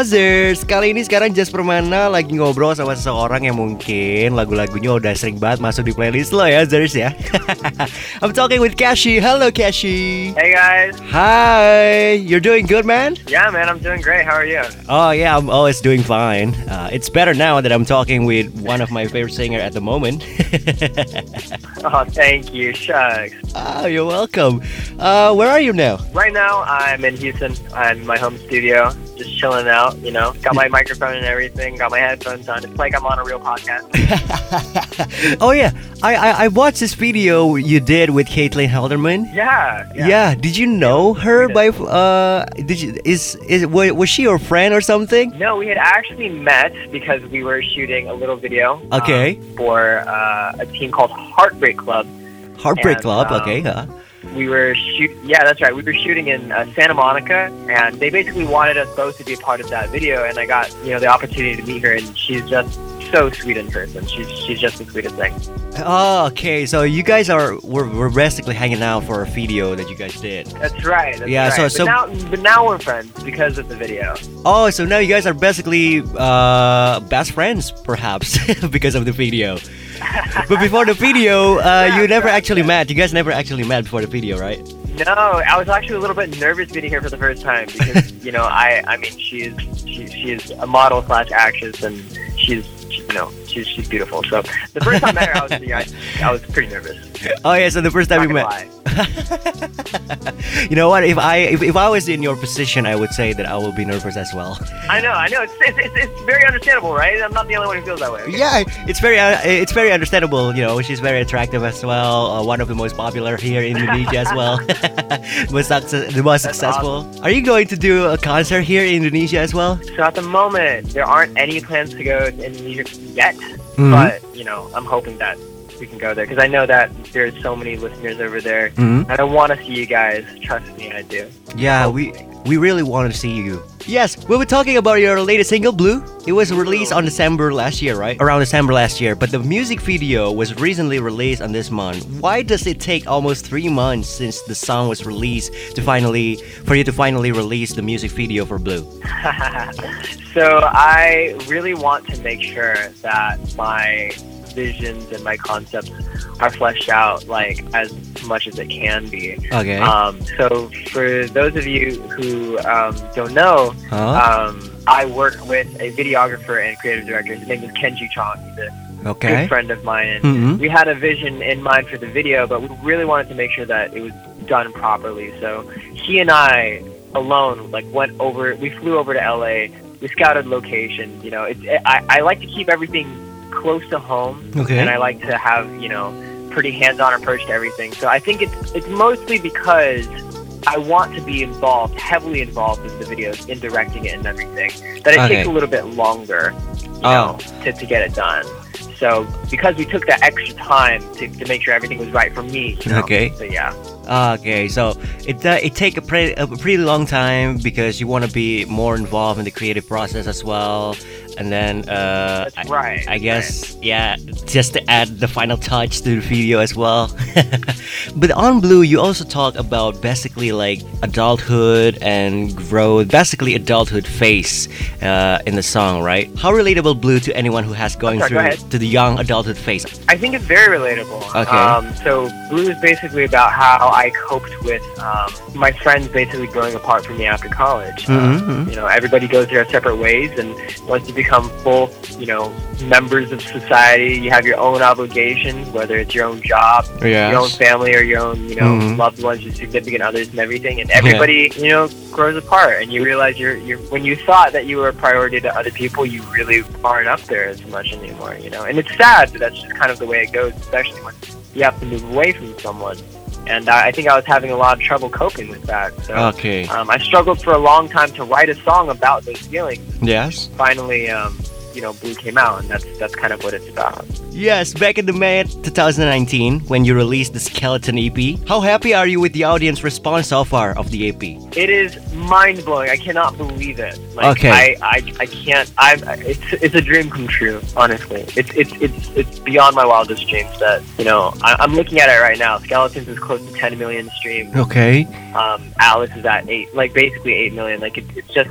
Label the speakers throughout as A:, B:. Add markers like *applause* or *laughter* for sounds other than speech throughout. A: Ozers, kali ini sekarang Jas Permana lagi ngobrol sama seseorang yang mungkin lagu-lagunya udah sering banget masuk di playlist lo ya Ozers ya *laughs* I'm talking with Kashi, hello Kashi
B: Hey guys.
A: Hi, you're doing good man?
B: Yeah, man, I'm doing great. How are you?
A: Oh yeah, I'm always doing fine Uh, It's better now that I'm talking with one of my favorite singer at the moment *laughs*
B: Oh, thank you. Shucks.
A: Oh, you're welcome uh, Where are you now? *laughs*
B: Right now, I'm in Houston. I'm in my home studio, just chilling out, you know. Got *laughs* my microphone and everything, got my headphones on. It's like I'm on a real podcast.
A: oh yeah, I, I, I watched this video you did with Caitlin Helderman
B: *laughs* Yeah.
A: Yeah. Did you know her by? Uh, did you is is wa- was she your friend or something?
B: No, we had actually met because we were shooting a little video. um,
A: Okay.
B: for uh, a team called Heartbreak Club.
A: Heartbreak
B: And,
A: Club.
B: um,
A: okay. Huh?
B: We were shoot. Yeah, that's right. We were shooting in uh, Santa Monica, and they basically wanted us both to be a part of that video. And I got you know the opportunity to meet her, and she's just so sweet in person. She's she's just the sweetest thing.
A: Oh, okay. So you guys are were, were basically hanging out for a video that you guys did.
B: That's right. That's
A: Yeah, so-
B: Right. but
A: so-
B: now but now we're friends because of the video.
A: Oh, so now you guys are basically uh, best friends, perhaps, *laughs* because of the
B: *laughs*
A: video. but before the video, uh, you never actually met. You guys never actually met before the video, right?
B: No, I was actually a little bit nervous meeting her for the first time
A: *laughs*
B: because you know I I mean she's she, she's a model slash actress and she's you know she's she's beautiful. So the first time I met her, I was you know, I, I was pretty nervous.
A: Oh yeah, so the first time
B: Not
A: you
B: gonna
A: met.
B: lie.
A: *laughs* You know what? If I if, if I was in your position, I would say that I will be nervous as well.
B: I know, I know. It's, it's, it's, it's very understandable, right? I'm not the only one who feels that way. okay?
A: Yeah, it's very uh, it's very understandable. You know, she's very attractive as well. Uh, one of the most popular here in Indonesia as well. *laughs* most success, the most
B: That's
A: successful. Are you going to do a concert here in Indonesia as well?
B: So at the moment, there aren't any plans to go to Indonesia yet,
A: Mhm.
B: but, you know, I'm hoping that we can go there because I know that there's so many listeners over there.
A: Mhm.
B: And I want to see you guys. Trust me, I do. *laughs*
A: Yeah, we we really want to see you. Yes, we were talking about your latest single, Blue. It was released on December last year, right? Around December last year, but the music video was recently released on this month. Why does it take almost three months since the song was released to finally for you to finally release the music video for Blue?
B: so I really want to make sure that my visions and my concepts are fleshed out like as much as it can be.
A: Okay.
B: Um, so for those of you who um, don't know,
A: Huh?
B: Um, I work with a videographer and creative director. His name is Kenji Chong. He's a
A: okay.
B: good friend of mine. And
A: Mm-hmm.
B: we had a vision in mind for the video, but we really wanted to make sure that it was done properly. So he and I alone, like, went over. We flew over to LA. We scouted locations. You know, it's I, I like to keep everything close to home, and
A: Okay.
B: I like to have you know pretty hands-on approach to everything. So I think it's it's mostly because I want to be involved, heavily involved with the videos, in directing it and everything. That it
A: Okay.
B: takes a little bit longer, you
A: Oh.
B: know, to, to get it done. So because we took that extra time to, to make sure everything was right for me, you know?
A: Okay.
B: So yeah,
A: Okay. So it uh, it take a pretty a pretty long time because you want to be more involved in the creative process as well, and then uh,
B: that's right.
A: I guess, yeah, just to add the final touch to the video as well. *laughs* but on Blue, you also talk about basically like adulthood and growth, basically adulthood phase uh, in the song, right? How relatable Blue to anyone who has going
B: sorry, go
A: through
B: ahead.
A: to the young adulthood phase?
B: I think it's very relatable.
A: Okay.
B: Um, so Blue is basically about how I coped with um, my friends basically growing apart from me after college. Um,
A: Mm-hmm.
B: you know, everybody goes their separate ways, and once you become full, you know, members of society, you have your own obligations, whether it's your own job, your own family, or your own, you know,
A: Mhm.
B: loved ones, your significant others, and everything. And everybody, you know, grows apart, and you realize you're, you're when you thought that you were a priority to other people, you really aren't up there as much anymore, you know. And it's sad, but that's just kind of the way it goes, especially when you have to move away from someone. And I I think I was having a lot of trouble coping with that. So.
A: Okay.
B: Um, I struggled for a long time to write a song about those feelings.
A: Yes.
B: Finally, um, you know, Blue came out, and that's that's kind of what it's about.
A: Yes, back in the May 2019, when you released the Skeleton EP, how happy are you with the audience response so far of the E EP?
B: It is mind blowing. I cannot believe it. Like,
A: Okay.
B: I, I, I can't. I'm. It's it's a dream come true. Honestly, it's it's it's it's beyond my wildest dreams. That you know, I, I'm looking at it right now. Skeletons is close to 10
A: Oh.
B: million streams.
A: Okay.
B: Um, Alice is at eight, like basically eight million. Like it, it's just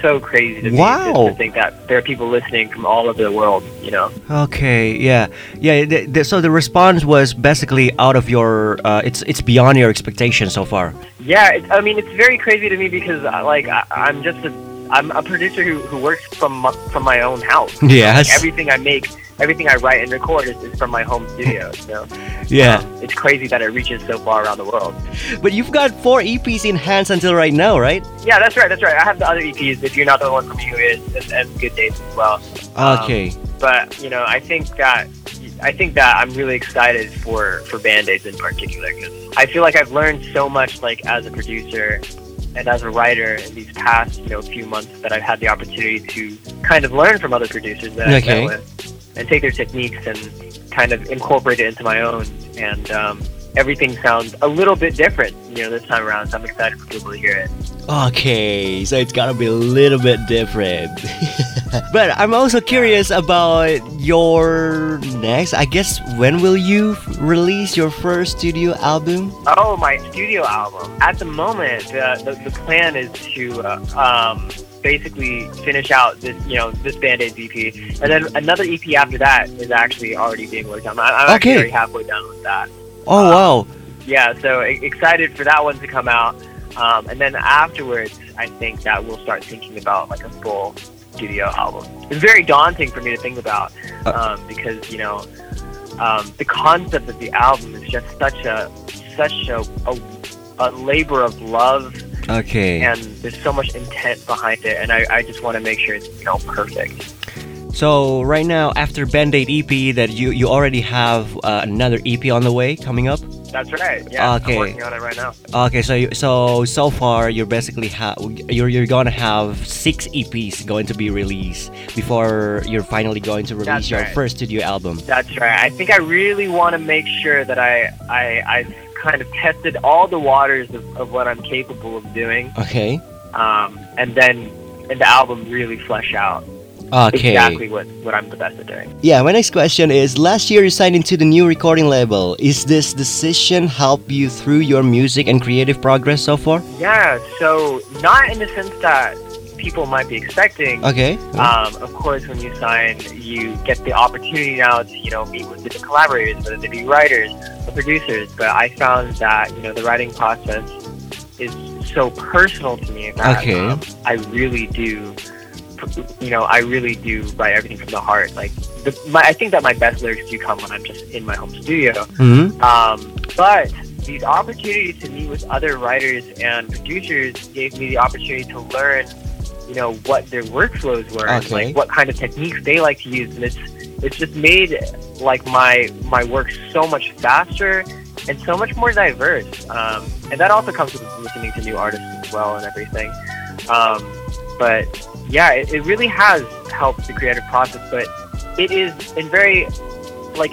B: so crazy to me
A: Wow.
B: just to think that there are people listening from all over the world. You know,
A: Okay, yeah, yeah. th- th- so the response was basically out of your. Uh, it's it's beyond your expectation so far.
B: yeah. It, I mean, it's very crazy to me because uh, like I, I'm just a I'm a producer who, who works from my, from my own house.
A: Yes.
B: Everything I make, everything I write and record is, is from my home studio. So
A: yeah,
B: um, it's crazy that it reaches so far around the world.
A: but you've got four EPs in hands until right now, right?
B: Yeah, that's right. That's right. I have the other EPs. If you're not the one from you, is and, and good days as well. Um,
A: Okay.
B: but you know, I think that I think that I'm really excited for for Band Aids in particular because I feel like I've learned so much, like as a producer and as a writer, in these past you know few months that I've had the opportunity to kind of learn from other producers that I've
A: Okay.
B: met with and take their techniques and kind of incorporate it into my own and. Um, Everything sounds a little bit different, you know, this time around. So I'm excited for people to hear it.
A: Okay, so it's gotta be a little bit different. *laughs* but I'm also curious about your next. I guess when will you f- release your first studio album?
B: Oh, my studio album. At the moment, uh, the, the plan is to uh, um, basically finish out this, you know, this Band Aid EP, and then another EP after that is actually already being worked on. I, I'm actually
A: Okay.
B: already halfway done with that.
A: Oh wow!
B: Yeah, so e- excited for that one to come out, um, and then afterwards, I think that we'll start thinking about like a full studio album. It's very daunting for me to think about
A: Uh.
B: um, because you know um, the concept of the album is just such a such a, a a labor of love,
A: Okay.
B: and there's so much intent behind it, and I, I just want to make sure it's you know perfect.
A: So right now, after Band Aid EP, that you you already have uh, another EP on the way coming up.
B: That's right. Yeah,
A: Okay.
B: I'm working on it right now.
A: Okay, so you, so so far you're basically ha- you're you're gonna have six EPs going to be released before you're finally going to release
B: That's
A: your
B: right.
A: first studio album.
B: That's right. I think I really want to make sure that I, I I've kind of tested all the waters of, of what I'm capable of doing,
A: Okay.
B: um, and then and the album really flesh out
A: Okay.
B: exactly what, what I'm the best at doing.
A: Yeah, my next question is last year you signed into the new recording label. Is this decision help you through your music and creative progress so far?
B: Yeah. So not in the sense that people might be expecting.
A: Okay.
B: Um, of course, when you sign, you get the opportunity now to you know meet with different collaborators, whether they be writers or producers. But I found that you know the writing process is so personal to me that
A: Okay.
B: um, I really do, you know, I really do write everything from the heart. Like, the, my, I think that my best lyrics do come when I'm just in my home studio.
A: hmm
B: Um, but these opportunities to meet with other writers and producers gave me the opportunity to learn, you know, what their workflows were and
A: Okay.
B: like what kind of techniques they like to use, and it's it's just made like my my work so much faster and so much more diverse. Um, and that also comes with listening to new artists as well and everything. Um, but yeah, it, it really has helped the creative process, but it is in very like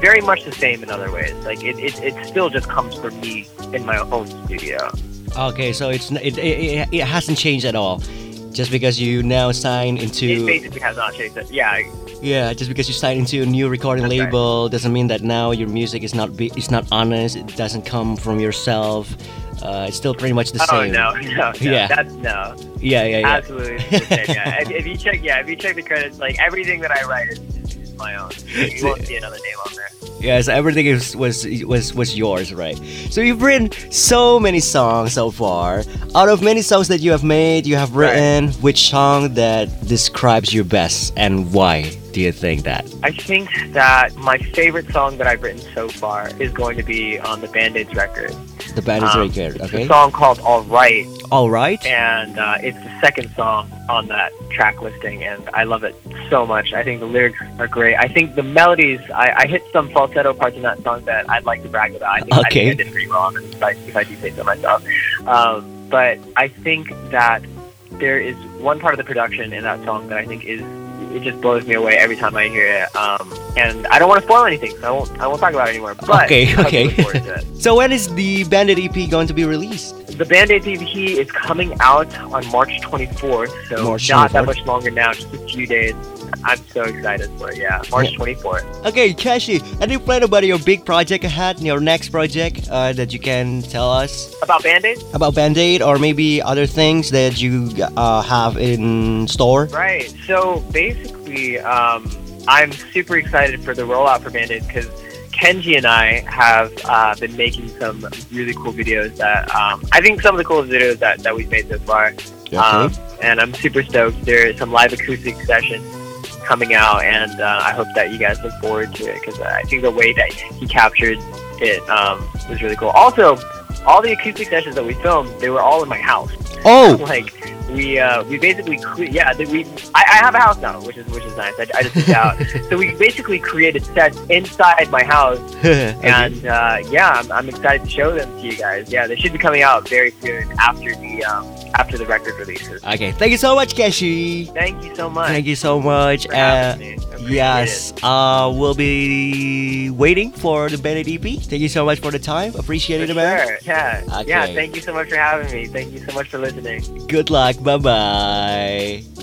B: very much the same in other ways. Like it, it, it still just comes from me in my own studio.
A: Okay, so it's n- it, it, it, it hasn't changed at all. Just because you now sign
B: It
A: into
B: basically has not changed. It. Yeah,
A: yeah, just because you sign into a new recording
B: That's right.
A: label doesn't mean that now your music is not be, it's not honest. It doesn't come from yourself. Uh, it's still pretty much the
B: oh
A: same.
B: no, *laughs* no, no,
A: Yeah.
B: that's no,
A: Yeah, yeah, yeah.
B: absolutely the same.
A: *laughs*
B: Yeah. if, if you check, yeah, if you check the credits, like everything that I write is, is my own. You won't see another name on there.
A: Yeah, so everything is, was was was yours, right? So you've written so many songs so far. Out of many songs that you have made, you have
B: Right.
A: written which song that describes you best, and why do you think that?
B: I think that my favorite song that I've written so far is going to be on the Band Aids record.
A: The band is very
B: Um,
A: good.
B: It's a
A: Okay.
B: song called All Right,
A: All right.
B: and uh, it's the second song on that track listing, and I love it so much. I think the lyrics are great. I think the melodies, I, I hit some falsetto parts in that song that I'd like to brag about. I think, I,
A: Okay.
B: think I did pretty well on it, if I, if I do say so myself. Um, but I think that there is one part of the production in that song that I think is it just blows me away every time I hear it. Um, and I don't want to spoil anything, so I won't I won't talk about it anymore. But
A: Okay,
B: I hope you
A: okay.
B: look forward to it.
A: So when is the Bandit EP E going to be released?
B: the Band Aid DVD is coming out on March 24th, so
A: March
B: not that
A: 24th?
B: much longer now, just a few days. I'm so excited for it, yeah. March
A: Yeah.
B: 24th.
A: Okay, Kashi, any plan about your big project ahead, your next project uh, that you can tell us
B: About Band Aid?
A: about Band Aid or maybe other things that you uh, have in store?
B: Right. So basically, um, I'm super excited for the rollout for Band Aid because Kenji and I have uh, been making some really cool videos that um, I think some of the coolest videos that, that we've made so far. Um, and I'm super stoked. There is some live acoustic sessions coming out, and uh, I hope that you guys look forward to it because I think the way that he captured it um, was really cool. Also, all the acoustic sessions that we filmed, they were all in my house.
A: oh,
B: *laughs* Like we uh, we basically cle- yeah that we I, I have a house now, which is which is nice. I, I just moved out, so we basically created sets inside my house,
A: *laughs* okay.
B: and uh, yeah, I'm, I'm excited to show them to you guys. Yeah, they should be coming out very soon after the um, after the record releases.
A: okay. Thank you so much, Kashi.
B: Thank you so much.
A: Thank you so much.
B: for
A: Uh,
B: having me. Appreciate
A: yes, uh, we'll be waiting for the Band Aid EP. Thank you so much for the time. Appreciate
B: it.
A: it,
B: For
A: man.
B: sure. Yeah.
A: Okay.
B: yeah, thank you so much for having me. Thank you so much for listening.
A: Good luck. Bye bye.